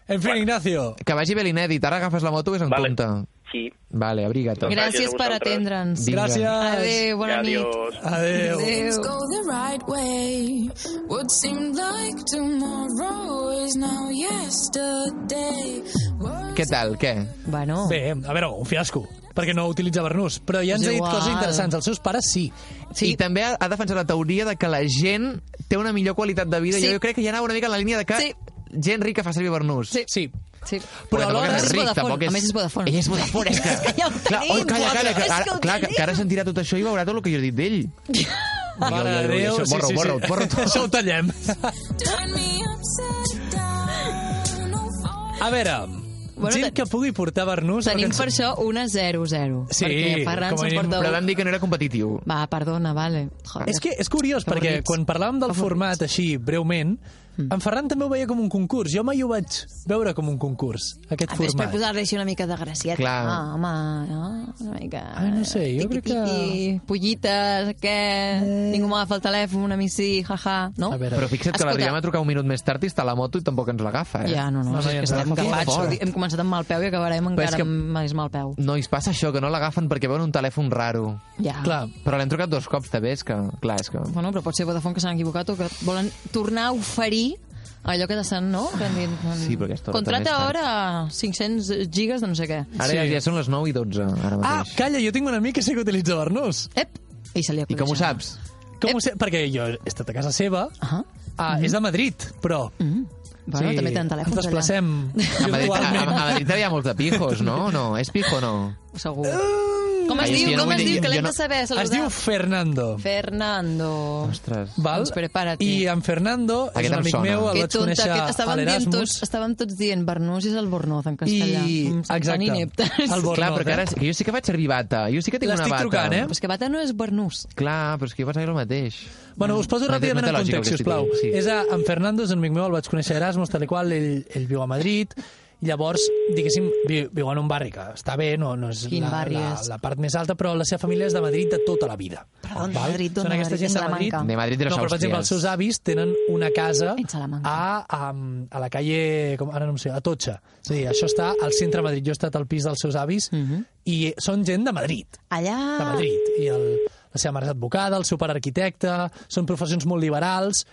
S3: En fin, Ignacio.
S1: Que vagi bé l'inèdit, ara agafes la moto i és en
S4: Vale.
S1: compte.
S4: Sí,
S1: Vale, abriga't.
S4: Gràcies a
S2: Gràcies per
S4: vosaltres.
S2: atendre'ns.
S1: Vinga.
S3: Gràcies.
S2: Adéu, bona nit.
S4: adiós.
S3: Adéu.
S5: Things
S2: Adéu.
S5: go the right way. What seemed like tomorrow is now yesterday. Words
S1: Què tal, què?
S2: Bueno,
S3: Bé, a veure, un fiasco, perquè no utilitza Bernús. Però ja ens
S2: És
S3: ha dit
S2: igual.
S3: coses interessants. Els seus pares sí.
S1: Sí. I també ha, ha defensat la teoria de que la gent té una millor qualitat de vida.
S2: Sí.
S1: Jo, jo crec que hi anava una mica en la línia de que
S2: Sí.
S1: gent rica fa servir Bernús.
S2: Sí.
S3: Sí.
S2: sí.
S1: Però
S3: alhora-
S1: alhora
S3: A més és
S1: ric,
S2: Vodafone,
S1: tampoc és...
S2: a més és Vodafone.
S1: Ell és Vodafone, és que...
S2: <laughs> És que ja ho
S1: clar,
S2: tenim,
S1: oi, calla, calla, que
S2: és
S1: ara,
S2: que ho
S1: clar, que,
S2: tenim.
S1: que ara sentirà tot això i veurà tot el que jo he dit d'ell.
S3: Mare
S1: Ui,
S3: de
S1: ui, ui,
S3: Déu.
S1: això,
S3: sí,
S1: borra-ho,
S3: sí, sí.
S1: borra-ho, borra-ho.
S3: <laughs> Això ho tallem.
S5: turn me upside down. No fall.
S3: A veure,
S2: Bueno,
S3: gent
S2: ten-
S3: que pugui portar Bernús... a la
S2: Tenim
S3: cançó.
S2: per això una 0-0.
S3: Sí,
S2: perquè Ferran
S3: com a
S2: se'n
S3: mínim,
S2: porta
S1: Però
S2: un.
S1: vam dir que no era competitiu.
S2: Va, perdona, vale. Joder. Ah,
S3: És que és curiós, perquè
S2: Avorrits.
S3: quan parlàvem del
S2: Avorrits. Mm.
S3: format així breument, En Ferran també ho veia com un concurs. Jo mai ho vaig veure com un concurs, aquest
S2: Format. És per
S3: format.
S2: posar-li així una mica de gracieta.
S1: Clar.
S2: Ah, home, no? una mica...
S3: Ah, no sé, jo crec que-
S2: tiqui-tiqui, Pollites, què? Ningú m'agafa el telèfon, a mi sí, jaja, no?
S3: A veure.
S1: Però fixa't que
S2: Escolta.
S1: l'Adrià m'ha trucat un minut més tard i està a la moto i tampoc ens l'agafa, eh?
S2: Ja, no, no, no,
S3: No, no,
S2: és
S3: ja
S2: que
S3: ens
S2: estem
S3: agafa
S2: acabats.
S1: fort.
S2: Hem començat amb mal peu i
S1: Però
S2: acabarem
S1: és
S2: encara
S1: que-
S2: amb més mal peu.
S1: Nois, passa això, que no l'agafen perquè veuen un telèfon raro.
S2: Ja.
S3: Clar,
S1: Però l'hem trucat dos cops, també, és que... Clar, és que...
S2: Bueno, però pot ser Vodafone que s'han equivocat o que volen tornar a oferir allò que t'estan, no? Que han dit,
S1: Sí, perquè aquesta hora
S2: Contrata
S1: també
S2: ara 500 gigas de no sé què.
S1: Ara
S3: Sí.
S1: ja, ja són les 9 i 12, ara
S3: Ah,
S1: mateix.
S3: calla, jo tinc un amic que sé que utilitza Bernús.
S2: Ep! I se li
S1: I com ho saps?
S2: Eh.
S3: Com ho sé? Perquè jo he estat a casa seva.
S2: Ah,
S3: Ah, és de Madrid, però...
S2: mm. Bueno,
S3: sí,
S2: també tenen telèfons
S3: Ens desplacem
S2: <laughs>
S1: A Madrid, a, a
S3: virtualment.
S1: a Madrid hi ha molts de pijos, no? No, és pijo, no?
S2: allà. Segur. Com es
S1: Ai,
S2: diu?
S1: sí, no
S2: Com
S1: vull
S2: es
S1: dir-
S2: diu?
S1: jo
S2: Que l'hem
S1: no-
S2: de saber. Ah, Saludar.
S3: Es diu Fernando.
S2: Fernando.
S1: Ostres.
S3: Val?
S2: Doncs prepara't.
S3: I en Fernando és
S1: Aquest
S3: un
S1: em
S3: amic
S1: sona.
S3: meu, el
S2: Que
S3: vaig
S2: tonta,
S3: conèixer
S2: que
S3: a
S2: estàvem dient
S3: l'Erasmus.
S2: tots, estàvem tots dient Bernús és el Bornoz en castellà.
S3: I-
S2: Mm, som
S3: exacte.
S2: Tan ineptes.
S3: El Bornoz.
S1: Clar, però que
S3: eh?
S1: ara... que Jo sí que faig servir bata. Jo sí que tinc una
S3: L'estic
S1: bata.
S3: trucant, eh?
S2: Però és que Bata no és Bernús.
S1: Clar, però és que jo pensava que era el mateix.
S3: Bueno, us poso
S1: No té-
S3: ràpidament
S1: no té
S3: en
S1: lògica el que
S3: context,
S1: estic
S3: sisplau.
S1: dient, sí.
S3: És a, en Fernando, és un amic meu, el vaig conèixer a Erasmus, tal i qual, ell, ell viu a Madrid, i llavors, diguéssim, vi, viu en un barri que està bé, no, no és
S2: Quin
S3: la,
S2: barri
S3: la,
S2: és?
S3: la, part més alta, però la seva família és de Madrid de tota la vida.
S2: Però d'on?
S3: Val?
S2: Madrid, d'on?
S3: Són aquesta
S2: Madrid,
S3: gent de Madrid.
S2: Salamanca.
S1: De Madrid i de
S3: no,
S1: les
S3: però, per exemple, els
S1: Àustries.
S3: seus avis tenen una casa
S2: En Salamanca.
S3: a, a, a la calle, com, ara no em sé, a Totxa. És a dir, això està al centre de Madrid. Jo he estat al pis dels seus avis
S2: Mhm.
S3: i són gent de Madrid
S2: Allà...
S3: de Madrid. I el, la seva mare és advocada, el seu pare arquitecte, són professions molt liberals,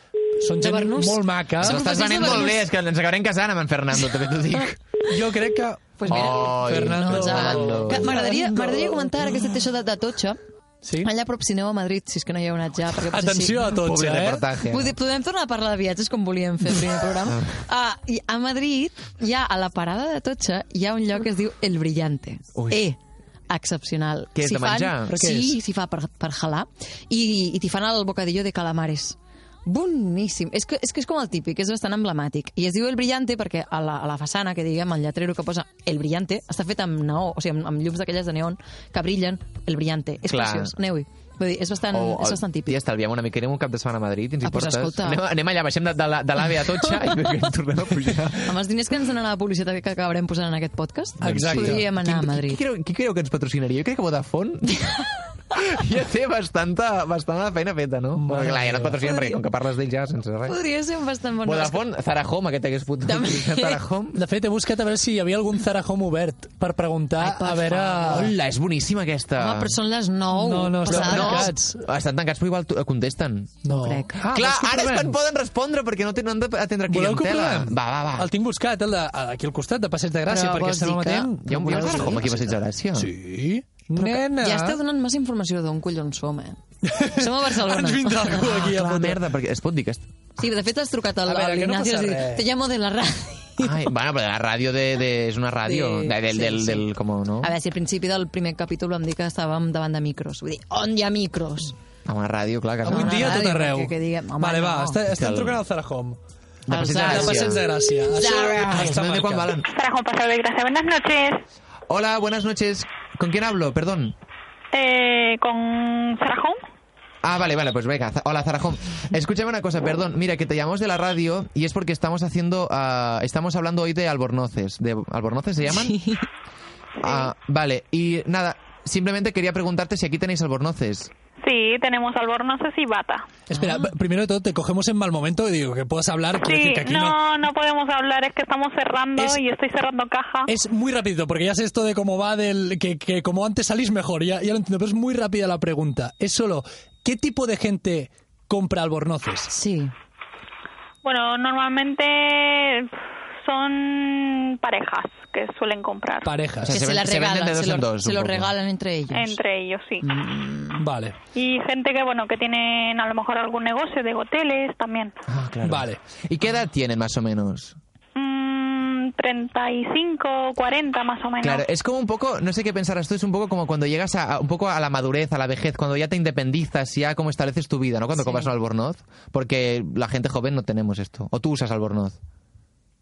S3: són
S2: De
S3: gent
S2: Bernús.
S3: molt maca.
S2: Són
S1: Però estàs venent molt bé, és que ens acabarem casant amb en Fernando, també t'ho dic.
S3: Jo crec que...
S2: Pues mira,
S1: Ai,
S3: Fernando.
S2: doncs, ah,
S1: Fernando.
S2: que M'agradaria
S3: Fernando.
S2: m'agradaria comentar ara aquesta això de, de Totxa.
S3: Sí?
S2: Allà a prop, si aneu a Madrid, si és que no hi heu anat ja. Perquè potser
S3: Atenció a tots,
S1: Pobre
S3: eh?
S1: reportatge.
S2: Vull dir, podem tornar a parlar de viatges com volíem fer el
S1: <laughs>
S2: primer programa. Ah, i a Madrid, ja a la parada de Totxa, hi ha un lloc que es diu El Brillante.
S1: Ui.
S2: E excepcional.
S1: Què és, de menjar?
S3: Però què
S2: sí, s'hi fa per, per jalar. I, i t'hi fan el bocadillo de calamares. Boníssim. És que, és que és com el típic, és bastant emblemàtic. I es diu El Brillante perquè a la, a la façana, que diguem, el lletrero que posa El Brillante, està fet amb neó, o sigui, amb, amb llums d'aquelles de neon que brillen El Brillante. És
S1: Clar.
S2: preciós, aneu-hi. Vull dir, és bastant,
S1: O- o-
S2: és bastant típic.
S1: Tia, estalviem una mica, anem un cap de setmana a Madrid i ens hi
S2: Ah, pues
S1: portes.
S2: escolta.
S1: anem, anem allà, baixem de, de, la- de l'AVE a Totxa i <laughs> tornem a pujar.
S2: Amb els diners que ens donarà la publicitat que acabarem posant en aquest podcast,
S3: Exacte.
S2: podríem anar a
S1: Qui,
S2: Madrid.
S1: creu, qui creu que ens patrocinaria? Jo crec que <laughs> Vodafone ja té bastanta, bastanta feina feta, no? Bueno, clar, ja no et patrocinen perquè com que parles d'ells ja sense res.
S2: Podria ser un bastant bon
S1: Vodafone, Zara Home, aquest hagués pogut
S2: També.
S1: utilitzar <laughs> Zara Home.
S3: De fet, he buscat a veure si hi havia algun Zara Home obert per preguntar,
S2: Ai, per
S3: a veure...
S1: Ah, Hola, és boníssima aquesta.
S2: Home, però són les 9.
S3: No, no, estan
S2: passades.
S3: tancats.
S1: Estan tancats, però igual tu- eh, contesten.
S3: No.
S2: crec.
S3: Ah,
S1: Clar,
S3: vols que
S1: ara és
S3: provem?
S1: quan poden respondre perquè no tenen d'atendre
S3: Voleu que ho
S1: clientela.
S3: provem?
S1: Va, va, va.
S3: El tinc buscat, el de, aquí al costat, de Passeig de Gràcia,
S2: Però
S3: perquè
S2: vols
S3: estem
S2: dir que-
S3: amatent.
S1: Hi ha un, hi ha un Zara Home aquí a Passeig de Gràcia?
S3: Sí.
S2: Però que-
S3: Nena!
S2: Ja esteu donant massa informació d'on collons som,
S3: <laughs>
S2: eh? Som a Barcelona.
S3: Ens vindrà algú aquí
S1: Ah,
S3: a
S1: Clar,
S3: fotre.
S1: merda, perquè es pot dir que... est-
S2: Sí, de fet has trucat al,
S3: A veure,
S2: al
S3: que no
S2: Ignacio.
S3: passa
S2: has dit,
S3: res.
S2: Te llamo de la ràdio. <laughs>
S1: Ai, bueno, però la ràdio de, de, és una ràdio.
S2: Sí,
S1: de, del,
S2: sí,
S1: del,
S2: sí.
S1: del, com, no?
S2: A veure, si al principi del primer capítol vam dir que estàvem davant de micros. Vull dir, on hi ha micros?
S1: A una ràdio, clar, que
S3: Avui
S1: no.
S2: No, no,
S3: dia a
S2: ràdio,
S3: tot arreu.
S2: perquè que diguem, home,
S3: vale, va,
S2: no.
S3: està,
S1: Que
S3: estan
S1: el-
S3: trucant al Zara Home.
S1: De
S2: Al
S1: Passeig de
S2: Zara.
S3: De
S1: Gràcia.
S3: Passeig de Gràcia.
S2: Zara.
S3: Això
S1: Ay,
S3: està
S1: no sé
S3: maca.
S1: quan valen.
S6: Para Juan Paseo de Gracia. Buenas noches.
S1: Hola, buenas noches. ¿Con quién hablo? Perdón.
S6: Eh, ¿Con Sarajón?
S1: Ah, vale, vale, pues venga. Za- Hola, Zarajón. Escúchame una cosa, perdón. Mira, que te llamamos de la radio y es porque estamos haciendo... ah, estamos hablando hoy de albornoces. ¿De albornoces se llaman? Ah, vale. Y nada, simplemente quería preguntarte si aquí tenéis albornoces.
S6: Sí, tenemos albornoces y bata.
S3: Espera, primero de todo, te cogemos en mal momento y digo que puedas hablar. quiero
S6: Sí,
S3: decir que aquí no...
S6: no, no podemos hablar, es que estamos cerrando
S3: Es-
S6: y estoy cerrando caja.
S3: Es muy rápido, porque ya sé esto de cómo va del... Que, que como antes salís mejor, ya, ya lo entiendo, pero es muy rápida la pregunta. Es solo, ¿qué tipo de gente compra albornoces?
S2: Sí.
S6: Bueno, normalmente son parejas que suelen comprar
S1: O
S3: Parejas.
S1: sea, se
S2: Que se,
S1: ven-
S2: la
S1: se venden
S2: regalan,
S1: de dos
S2: se,
S1: en
S2: lo,
S1: dos,
S2: se
S1: un
S2: lo
S1: poco.
S2: regalan entre ellos.
S6: entre ellos, sí.
S3: Mm. Vale,
S6: Y gente que, bueno, que tienen a lo mejor algún negocio de hoteles también.
S1: Ah, claro.
S3: vale.
S1: ¿Y qué edad tienen más o menos?
S6: Mm, 35, 40 más o menos.
S1: Claro, es como un poco, no sé qué pensar, esto es un poco como cuando llegas a, a- un poco a la madurez, a la vejez, cuando ya te independizas, ya como estableces tu vida, ¿no? Cuando
S2: Sí.
S1: compras un albornoz, porque la gente joven no tenemos esto. O tú usas albornoz.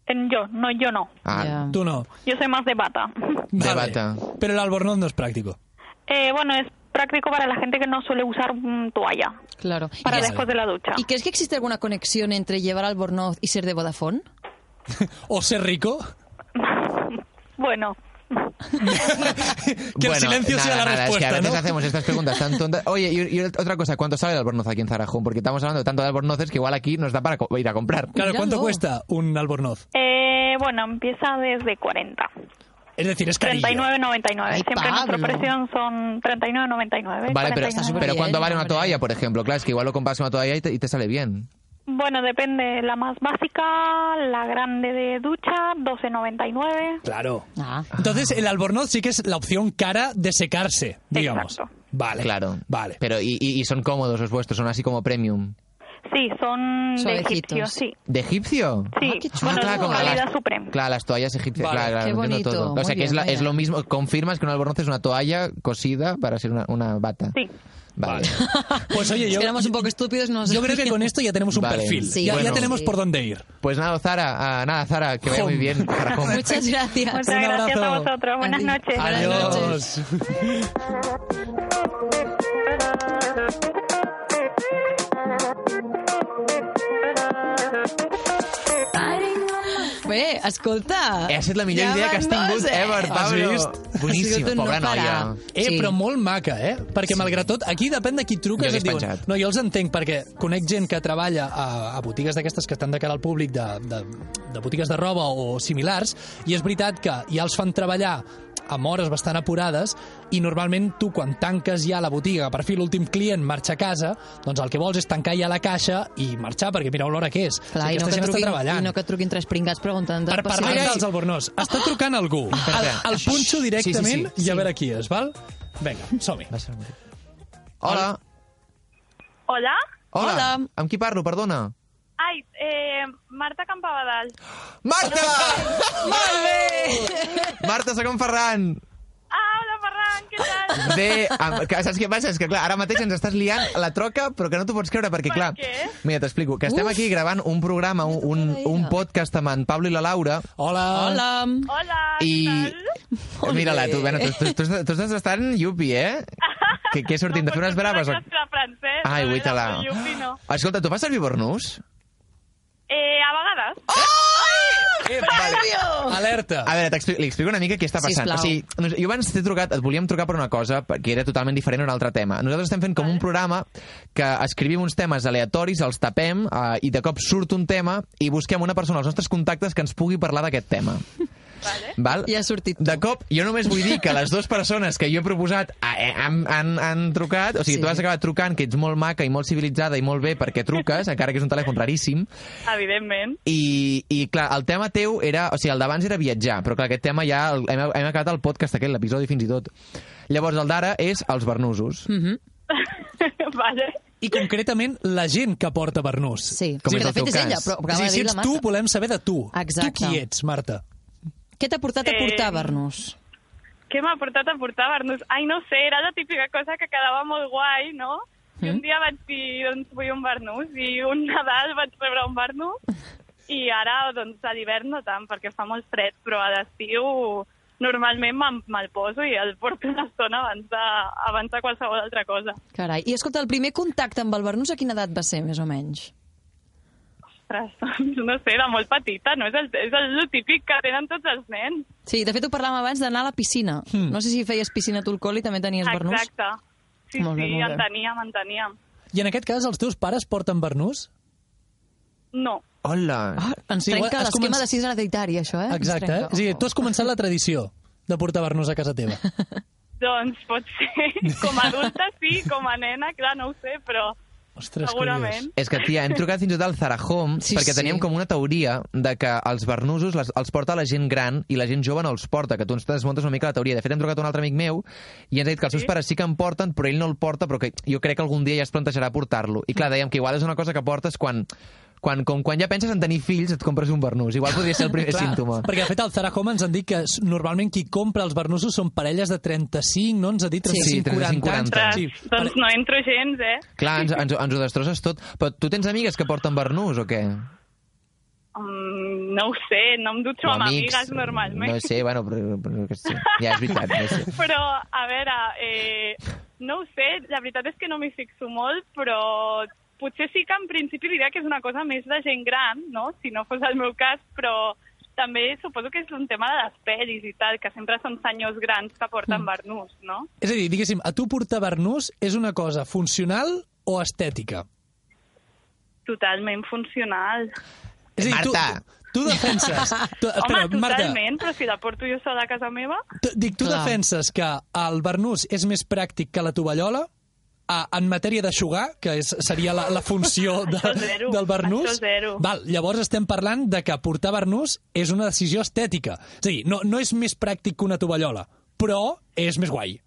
S6: En- Yo, no, yo no.
S1: Ah,
S2: Ja.
S3: Tú no.
S6: Yo soy más de bata. <laughs>
S1: De
S3: Vale.
S1: bata.
S3: Pero el albornoz no es práctico.
S6: Eh, bueno, es práctico para la gente que no suele usar mm, toalla
S2: Claro. ¿Y
S6: para
S2: crees-
S6: después de la ducha.
S2: ¿Y crees que existe alguna conexión entre llevar albornoz y ser de Vodafone?
S3: O ser
S1: <laughs>
S3: rico.
S6: Bueno,
S3: Que el silencio sea la respuesta,
S1: es que a veces
S3: ¿no?
S1: hacemos estas preguntas tan
S3: <laughs>
S1: tontas. Oye, y, y otra cosa, ¿cuánto sale el albornoz aquí en Zarajón? Porque estamos hablando tanto de albornoces que igual aquí nos da para co- ir a comprar.
S3: Claro, ¿cuánto
S2: Míralo.
S3: cuesta un albornoz?
S6: eh, bueno, empieza desde 40.
S3: Es decir, es carillo.
S6: 39,99.
S2: Ay,
S6: Siempre nuestra
S2: Pablo.
S6: presión son 39,99.
S1: Vale, pero,
S6: 49,99.
S1: pero
S2: bien,
S1: ¿cuánto vale una
S2: hombre.
S1: toalla, por ejemplo? Claro, es que igual lo compras una toalla y te, y te sale bien.
S6: Bueno, depende. La más básica, la grande de ducha, 12,99.
S3: Claro.
S2: Ah.
S3: Entonces, el albornoz sí que es la opción cara de secarse, digamos.
S6: Exacto.
S3: Vale.
S1: Claro.
S3: Vale.
S1: Pero, y, y- y son cómodos los vuestros, son así como premium.
S6: Sí, son de
S2: Suavecitos.
S6: egipcio, sí.
S1: ¿De egipcio?
S6: Sí,
S2: qué chulo.
S6: bueno,
S1: Ah, claro,
S6: es
S1: como
S6: calidad
S1: las,
S6: suprema.
S1: claro, las toallas egipcias.
S3: Vale.
S1: Claro, claro,
S2: Qué
S1: lo entiendo
S2: bonito,
S1: todo.
S2: muy
S1: O sea, que
S2: bien,
S1: es, la-
S2: vaya.
S1: es lo mismo. Confirmas que un albornoz es una toalla cosida para ser una, una bata.
S6: Sí.
S1: Vale.
S3: Pues oye,
S2: Si
S3: yo,
S2: éramos un poco estúpidos, no nos-
S3: yo creo que con esto ya tenemos un
S1: Vale.
S3: perfil.
S2: Sí.
S3: ya, ya
S1: Bueno.
S3: tenemos
S2: Sí.
S3: por dónde ir.
S1: <laughs> Pues nada, Zara, ah, nada, Zara, que vaya muy
S3: Home.
S1: bien. Zara, home.
S2: Muchas gracias.
S6: Muchas
S3: Un
S6: gracias a
S3: abrazo.
S6: vosotros. Buenas
S2: Adiós.
S6: noches.
S2: Buenas noches.
S3: Adiós.
S6: eh.
S2: Bé, escolta... eh.
S1: Ha sido la millor idea que has tingut ever, Pablo.
S3: vist?
S1: Boníssim, pobra noia.
S3: Eh, sí. però molt maca, eh? Perquè sí. malgrat tot, aquí depèn de qui et truques.
S1: Jo l'he
S3: et diuen,
S1: penjat.
S3: no, jo els entenc perquè conec gent que treballa a, a botigues d'aquestes que estan de cara al públic, de, de, de botigues de roba o similars, i és veritat que ja els fan treballar amb hores bastant apurades i normalment tu quan tanques ja la botiga per fi l'últim client marxa a casa doncs el que vols és tancar ja la caixa i marxar perquè mireu l'hora que és
S2: Clar,
S3: o
S2: i no,
S3: sigui,
S2: que et
S3: aquesta gent està
S2: truquin,
S3: treballant
S2: i no que et truquin tres pringats preguntant...
S3: per parlar
S1: Ai, ai.
S3: dels albornots. Està trucant algú. El, el punxo
S1: Sí,
S3: directament
S1: sí, sí.
S3: i a veure qui és, val? Vinga, som-hi.
S1: Va ser un- Hola.
S6: Hola.
S1: Hola.
S2: Hola.
S1: Amb qui parlo, perdona?
S6: Ai, eh, Marta Campabadal.
S1: <laughs> Marta! Molt bé! Marta, sóc en Ferran.
S6: Ah, hola, Ferran, què
S1: <laughs>
S6: tal?
S1: De, amb, que, saps què passa? És que clar, ara mateix ens estàs liant a la troca, però que no t'ho pots creure, perquè
S6: Per
S1: clar...
S6: què?
S1: Mira, t'explico, que estem
S2: Uf.
S1: aquí gravant un programa, un, un, un podcast amb en Pablo i la Laura,
S3: Hola.
S2: Hola.
S6: Hola,
S1: I... Mira-la, tu, bueno, tu, tu, tu, estàs- tu estàs bastant yupi, eh? Que, que sortim de fer unes braves? o-
S6: francès,
S1: Ai, guaita-la. Escolta, tu fas servir bornús?
S6: Eh, a vegades.
S1: Eh, vale.
S3: Alerta.
S1: A veure, t'expli- li explico una mica què està passant.
S2: Sisplau.
S1: O sigui, nos- jo abans t'he trucat, et volíem trucar per una cosa que era totalment diferent a un altre tema. Nosaltres estem fent com un programa que escrivim uns temes aleatoris, els tapem eh, i de cop surt un tema i busquem una persona als nostres contactes que ens pugui parlar d'aquest tema. Vale. Val?
S2: I ha sortit tu.
S1: De cop, jo només vull dir que les dues persones que jo he proposat eh, eh, han, han, han trucat, o sigui,
S2: Sí.
S1: sí. tu has acabat trucant, que ets molt maca i molt civilitzada i molt bé perquè truques, encara que és un telèfon raríssim,
S6: Evidentment. <laughs>
S1: i, i clar, el tema teu era... O sigui, el d'abans era viatjar, però clar, aquest tema ja el, hem, hem acabat el podcast aquest, l'episodi fins i tot. Llavors, el d'ara és els bernusos. Mm -hmm.
S6: vale.
S3: I concretament la gent que porta Bernús.
S2: Sí,
S1: Com
S2: sí
S1: és
S2: que de
S1: el teu
S2: fet és
S1: cas?
S2: ella, però
S3: O
S2: acaba
S3: sigui,
S2: de
S3: si
S2: dir la
S3: ets
S2: Marta.
S3: tu, volem saber de tu.
S2: Exacte.
S3: Tu qui ets, Marta?
S2: Què t'ha portat a
S6: Eh,
S2: portar Bernús?
S6: Què m'ha portat a portar Bernús? Ai, no sé, era la típica cosa que quedava molt guai, no? I
S1: Mm-hmm.
S6: un dia vaig dir, doncs, vull un Bernús, i un Nadal vaig rebre un
S1: <laughs>
S6: Bernús, i ara, doncs, a l'hivern no tant, perquè fa molt fred, però a l'estiu normalment me'n- me'l poso i el porto una estona abans de, abans de qualsevol altra cosa.
S2: Carai. I escolta, el primer contacte amb el Bernús a quina edat va ser, més o menys?
S6: Ostres, <laughs> doncs, no sé, era molt petita, no? És el, és el, lo típic que tenen tots els nens.
S2: Sí, de fet ho parlàvem abans d'anar a la piscina. Hmm. No sé si feies piscina tu al col i també tenies Bernús.
S6: Exacte. Sí,
S2: Molt bé,
S6: sí,
S2: molt bé.
S6: en teníem, en teníem.
S3: I en aquest cas, els teus pares porten Bernús?
S6: No,
S1: Hola.
S2: Ah, ens
S3: Sí,
S2: sí,
S3: igual
S2: trenca
S3: has
S2: l'esquema
S3: començ-
S2: de sis hereditari, això, eh? Ens
S3: Exacte. Eh?
S2: trenca.
S3: O sigui, tu has començat la tradició de portar Bernús a casa teva.
S6: Doncs potser <laughs> com a adulta sí, com a nena, clar, no ho sé, però
S3: Ostres,
S6: segurament.
S1: És que, tia, hem trucat fins i tot al Zarahom
S2: Sí,
S1: sí, perquè
S2: sí.
S1: teníem com una teoria de que els bernusos les, els porta la gent gran i la gent jove no els porta, que tu ens desmuntes una mica la teoria. De fet, hem trucat a un altre amic meu i ens ha dit que els seus pares sí que en porten, però ell no el porta, però que jo crec que algun dia ja es plantejarà portar-lo. I clar, dèiem que igual és una cosa que portes quan... Quan, com quan ja penses en tenir fills, et compres un bernús. Igual podria ser el primer
S3: <laughs> Clar,
S1: símptoma.
S3: perquè de fet al Zara Home ens han dit que s- normalment qui compra els Bernussos són parelles de 35, no? Ens ha dit
S1: Sí,
S3: 35,
S1: 35, 40.
S3: 40
S6: Ostres,
S3: anys. Sí,
S6: doncs no entro gens, eh?
S1: Clar, ens, ens, ens ho destrosses tot. Però tu tens amigues que porten bernús o què?
S6: Mm, no ho sé, no em dutxo
S1: O
S6: amb
S1: amics?
S6: amigues normalment.
S1: No sé, bueno, però, però, però que sí. ja és veritat. No sé.
S6: Però, a veure, eh, No ho sé, la veritat és que no m'hi fixo molt, però potser sí que en principi diria que és una cosa més de gent gran, no? si no fos el meu cas, però també suposo que és un tema de les pel·lis i tal, que sempre són senyors grans que porten barnús, no?
S3: És a dir, diguéssim, a tu portar barnús és una cosa funcional o estètica?
S6: Totalment funcional.
S3: És a dir,
S1: Marta.
S3: Tu, tu defenses... Tu,
S6: Home,
S3: espera, Marta,
S6: totalment, però si la porto jo sola a casa meva...
S3: tu, dic, tu
S2: Clar.
S3: defenses que el barnús és més pràctic que la tovallola a, en matèria d'aixugar, que és, seria la, la
S2: <laughs>
S3: funció de,
S6: Això zero,
S3: del barnús.
S6: això zero.
S3: Val, llavors estem parlant de que portar barnús és una decisió estètica. És a dir, no, no és més pràctic que una tovallola, però és més guai.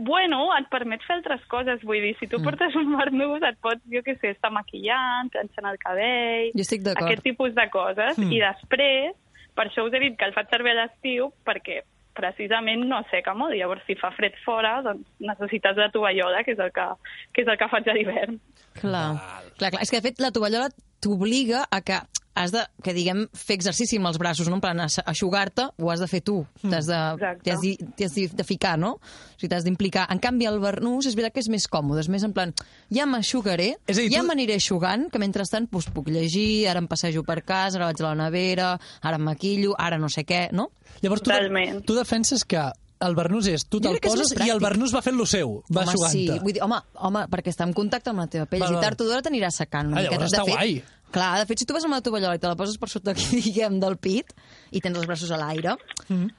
S6: Bueno, et permet fer altres coses, vull dir, si
S2: Mm.
S6: tu portes un barnús et pots, jo què sé, estar maquillant, planxant el cabell...
S2: Jo estic d'acord. Mm.
S6: Aquest tipus de coses. I després, per això us he dit que el faig servir a l'estiu, perquè precisament no seca molt, llavors si fa fred fora, doncs necessites la tovallola, que és el que, que, és el que faig a l'hivern.
S2: Clar.
S3: Val.
S2: clar, clar. És que, de fet, la tovallola t'obliga a que has de, que diguem, fer exercici amb els braços, no? En plan, aix- aixugar-te ho has de fer tu.
S3: Mm.
S2: T'has de,
S6: Exacte.
S2: t'hi has d'hi- t'hi has d'hi- de ficar, no? O sigui, t'has d'implicar. En canvi, el barnús és veritat que és més còmode, és més en plan, ja m'aixugaré,
S3: És a dir,
S2: ja
S3: tu-
S2: m'aniré aixugant, que mentrestant doncs, puc llegir, ara em passejo per casa, ara vaig a la nevera, ara em maquillo, ara no sé què, no?
S3: Llavors, tu,
S6: Totalment.
S3: tu defenses que el Bernús és, tu
S2: Jo
S3: te'l
S2: crec que és
S3: poses
S2: més
S3: i el
S2: pràctic.
S3: Bernús va fent lo seu, va
S2: home,
S3: jugant-te.
S2: sí. Vull dir, home, home, perquè està en contacte amb la teva pell,
S3: Val,
S2: i
S3: val.
S2: tard o d'hora t'anirà secant.
S3: Ah,
S2: Una
S3: llavors
S2: miqueta.
S3: està
S2: de fet,
S3: guai.
S2: Clar, de fet, si tu vas amb la tovallola i te la poses per sota, <laughs> aquí, diguem, del pit, i tens els braços a l'aire,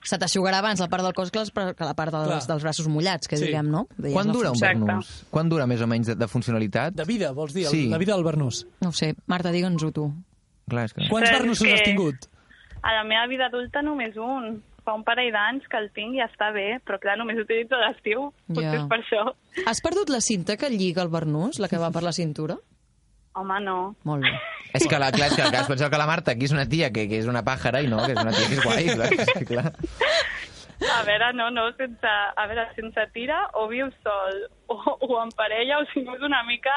S2: se t'aixugarà abans la part del cos que, les, que la part
S3: Mm. Clar.
S2: dels, dels braços mullats, que
S3: Sí.
S2: diguem, no? Deies
S1: Quan
S2: la
S1: dura un
S2: funció.
S6: Exacte.
S1: barnús? Quan dura més o menys de, de funcionalitat?
S3: De vida, vols dir, sí.
S1: Sí.
S3: la vida del Bernús.
S2: No ho sé. Marta, digue'ns-ho tu.
S1: Clar, és que...
S3: Quants
S6: Però és
S3: Bernús
S6: que-
S3: has tingut?
S6: A la meva vida adulta només un. Fa un parell d'anys que el tinc i està bé, però clar, només utilitzo a l'estiu. Potser
S2: Ja.
S6: és per això.
S2: Has perdut la cinta que lliga el barnús, la que va per la cintura?
S6: Home, no.
S2: Molt bé.
S1: És que, la, clar, és que, clar, es pensava que la Marta aquí és una tia que, que és una pàjara i no, que és una tia que és guai, clar. És que, clar.
S6: A veure, no, no, sense, a veure, sense tira o vius sol o, o en parella o si no és una mica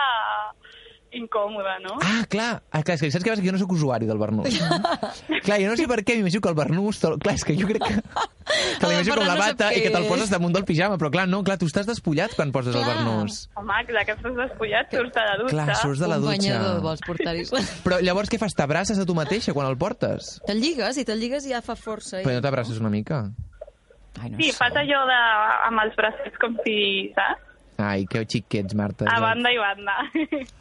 S6: incòmode, no?
S1: Ah, clar, ah, clar, és que saps què passa? Que jo no sóc usuari del Bernús. clar, jo no sé per què m'imagino que el Bernús... Te'l... Clar, és que jo crec que... Que l'imagino com la
S2: Bernat no sap
S1: bata
S2: què
S1: i que te'l
S2: és.
S1: poses damunt del pijama, però clar, no, clar, tu estàs despullat quan poses el
S2: Clar.
S1: Bernús.
S6: Home, clar, que estàs despullat, surts de la dutxa.
S1: Clar, surts de la
S2: un
S1: dutxa.
S2: banyador
S1: <laughs>
S2: vols portar-hi.
S1: Però llavors què fas? T'abraces a tu mateixa quan el portes?
S2: Te'l lligues i te'l lligues i ja fa força. I...
S1: Però no t'abraces una mica?
S2: Ai, no
S6: Sí,
S2: sé.
S6: fas allò de, amb els braços com si, saps?
S1: Ai, que xic que ets, Marta.
S6: A banda i banda.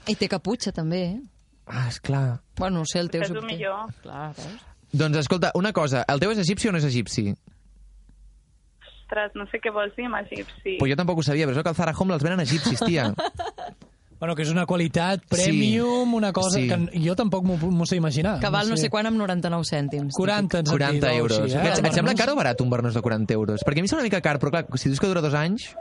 S2: I té caputxa, també, eh?
S1: Ah, esclar.
S2: Bueno, no ho sé, el teu...
S6: Això és
S2: subtil.
S6: el millor.
S2: Clar, veus?
S1: Doncs escolta, una cosa, el teu és egipci o no és egipci?
S6: Ostres, no sé què vols dir amb egipci.
S1: Pues jo tampoc ho sabia, però això que al Zara Home els venen egipcis, <laughs> tia.
S3: Bueno, que és una qualitat premium, una cosa
S1: Sí.
S3: que n- jo tampoc m'ho m'ho sé imaginar.
S2: Que val Ah, no sé quan amb 99 cèntims.
S3: 40, ens han
S1: 40
S3: dit, o
S1: euros.
S3: així,
S1: Sí,
S3: eh?
S1: eh?
S3: el
S1: et, et sembla
S3: Bernús.
S1: car o barat un Bernús de 40 euros? Perquè a mi em sembla una mica car, però clar, si dius que dura dos anys...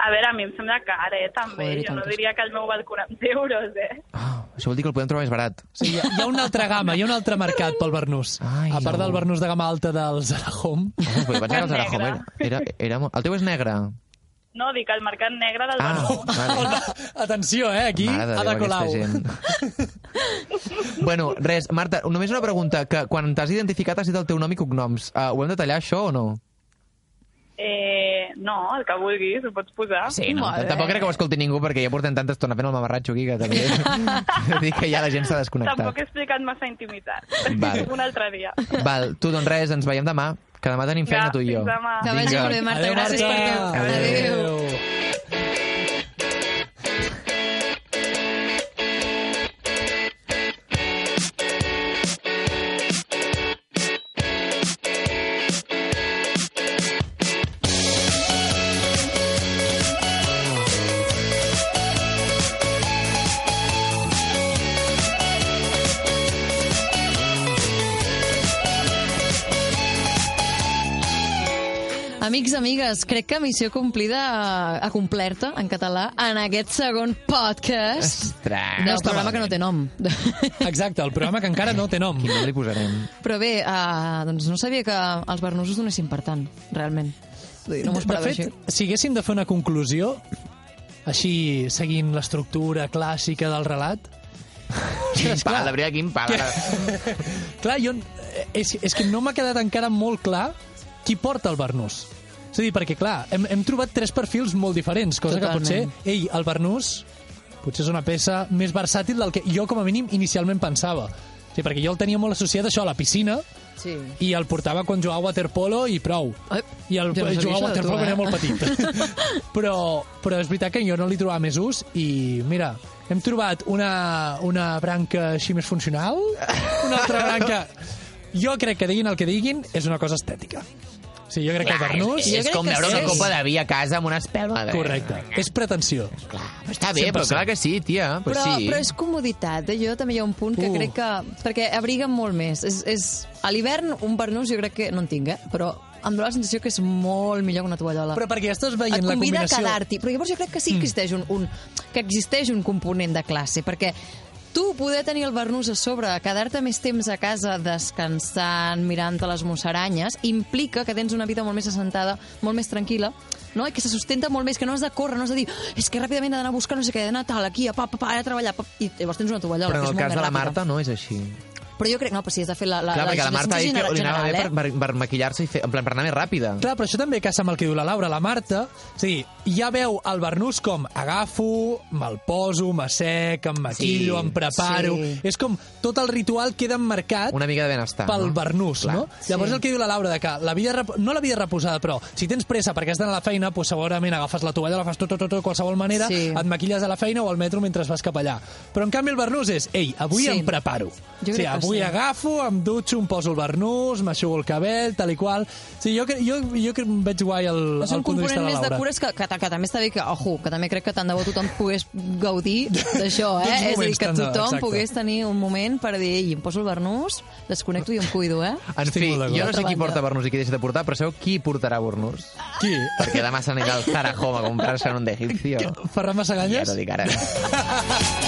S6: A veure, a mi em sembla car, eh, també.
S2: Joder, i
S6: jo no
S2: tantes.
S6: diria que el meu val 40 euros, eh.
S1: Oh, això vol dir que el podem trobar més barat.
S3: Sí, hi, ha, hi ha una altra gama, hi ha un altre mercat pel Bernús.
S1: Ai,
S3: a part
S1: no.
S3: del Bernús de gama alta del Zara Home.
S1: Home, però pensava que el Zara
S6: Negre.
S1: Home <laughs> era, era, era molt... El teu és negre?
S6: No, dic al mercat negre del
S1: Ah,
S6: Barcelona.
S3: <laughs>
S1: vale.
S3: Atenció, eh, aquí,
S1: Mare de
S3: Ada
S1: Déu,
S3: Colau.
S1: aquesta gent. <laughs> bueno, res, Marta, només una pregunta, que quan t'has identificat has dit el teu nom i cognoms. Uh, ho hem de tallar, això, o no?
S6: Eh, no, el que vulguis, ho pots posar.
S1: Sí, no,
S2: Molt bé.
S1: tampoc crec que ho escolti ningú perquè ja portem tanta estona fent el mamarratxo aquí que
S6: <laughs>
S1: també... Vull dir que ja la gent s'ha desconnectat.
S6: Tampoc he explicat massa intimitat.
S1: Vale.
S6: Un altre dia.
S1: Val, tu doncs res, ens veiem demà, que demà tenim feina
S6: Ja,
S1: tu i jo.
S6: fins demà.
S2: Que vagi
S1: Vinga.
S2: molt bé, Marta.
S3: Adéu,
S2: gràcies
S3: Marta.
S2: per tot.
S1: Adéu.
S2: Adéu. Amics, amigues, crec que missió complida eh, a complerta en català en aquest segon podcast
S1: Ostres,
S2: del programa que no té nom. <laughs>
S3: Exacte, el programa que encara no té nom.
S1: Quin nom li
S2: <laughs>
S1: posarem?
S2: Però bé, uh, doncs no sabia que els barnusos donessin per tant, realment. Vull dir, No m'ho
S3: de
S2: esperava
S3: fet,
S2: així.
S3: si haguéssim de fer una conclusió, així seguint l'estructura clàssica del relat... Ostres,
S1: Pala,
S3: clar,
S1: la veritat, quin pala.
S3: clar jo, eh, és, és que no m'ha quedat encara molt clar qui porta el Bernús. És a dir, perquè, clar, hem, hem trobat tres perfils molt diferents, cosa
S2: Totalment.
S3: que potser, ei, el Bernús potser és una peça més versàtil del que jo, com a mínim, inicialment pensava. Sí, perquè jo el tenia molt associat a això, a la piscina,
S2: Sí.
S3: i el portava quan jugava a waterpolo i prou.
S2: Ai,
S3: I el
S2: jo no sabia això de tu,
S3: jugava a waterpolo quan
S2: eh?
S3: era molt petit.
S2: <laughs>
S3: però, però és veritat que jo no li trobava més ús i, mira, hem trobat una, una branca així més funcional, una altra branca... Jo crec que diguin el que diguin, és una cosa estètica. Sí, jo crec que el Bernús...
S2: jo
S1: és
S2: crec
S1: com
S2: que
S1: beure
S2: sí.
S1: una copa de vi a casa amb una espelma. de-
S3: Correcte. És pretensió.
S1: Però Està bé, però
S3: 100%.
S1: clar que sí, tia. Però,
S2: Però,
S1: sí.
S2: però és comoditat, eh? jo també hi ha un punt que
S3: Uh.
S2: crec que... Perquè abriga molt més. És, és... A l'hivern un barnús jo crec que... No en tinc, eh? Però em dóna la sensació que és molt millor que una tovallola.
S3: Però perquè ja estàs
S2: et
S3: veient la
S2: convida a
S3: combinació...
S2: quedar-t'hi. Però llavors jo crec que
S1: Mm.
S2: sí que existeix un, un, que existeix un component de classe, perquè tu poder tenir el barnús a sobre, quedar-te més temps a casa descansant, mirant-te les musaranyes, implica que tens una vida molt més assentada, molt més tranquil·la, no? I que se sustenta molt més, que no has de córrer, no has de dir és que ràpidament he d'anar a buscar no sé què, he d'anar tal, aquí, a pa, pa, pa, ara a treballar, pa, i llavors tens una tovallola.
S1: Però
S2: que
S1: en
S2: és
S1: el
S2: molt
S1: cas
S2: més
S1: de la
S2: ràpida.
S1: Marta no és així.
S2: Però jo crec, no, però si has de fer la... la
S1: Clar,
S2: la, eh?
S1: perquè la Marta ha dit que
S2: general,
S1: li anava bé
S2: general,
S1: per, per, per maquillar-se i fer... En plan, per anar més ràpida.
S3: Clar, però això també caça amb el que diu la Laura, la Marta. O sigui, ja veu el Bernús com agafo, me'l poso, m'assec, em maquillo,
S1: Sí,
S3: em preparo...
S2: sí.
S3: És com tot el ritual queda emmarcat
S1: Una mica de benestar.
S3: pel
S1: no?
S3: Bernús,
S1: Clar.
S3: no? Llavors el que diu la Laura, de que la vida, rep- no la vida reposada, però si tens pressa perquè has d'anar a la feina, doncs segurament agafes la tovalla, la fas tot, tot, tot, de qualsevol manera,
S2: Sí.
S3: et maquilles a la feina o al metro mentre vas cap allà. Però en canvi el Bernús és, ei, avui
S2: Sí.
S3: em preparo.
S2: Jo
S3: o
S2: crec
S3: sigui,
S2: que
S3: avui
S2: sí.
S3: agafo, em dutxo, em poso el Bernús, m'aixugo el cabell, tal i qual... O sigui, jo, cre- jo, jo cre- veig guai el,
S2: És un
S3: el punt de
S2: component
S3: vista de la
S2: més de
S3: Laura.
S2: cures que, que, que també està bé que, ojo, que també crec que tant de bo tothom pogués
S3: <laughs>
S2: gaudir d'això, eh?
S3: D'uns
S2: És a dir,
S3: moments
S2: que
S3: tan de-
S2: tothom
S3: exacte.
S2: pogués tenir un moment per dir, ei, em poso el vernús, desconnecto i em cuido, eh?
S1: En
S3: Estic
S1: fi,
S3: molt d'acord.
S1: jo no sé qui
S2: Banda.
S1: porta Bernús i qui deixa de portar, però sabeu qui portarà Bernús?
S3: Qui?
S1: Perquè demà se n'anirà al Zarajoma a comprar-se un d'egipcio.
S3: Ferran
S1: Ja
S3: Massaganyes?
S1: t'ho dic ara.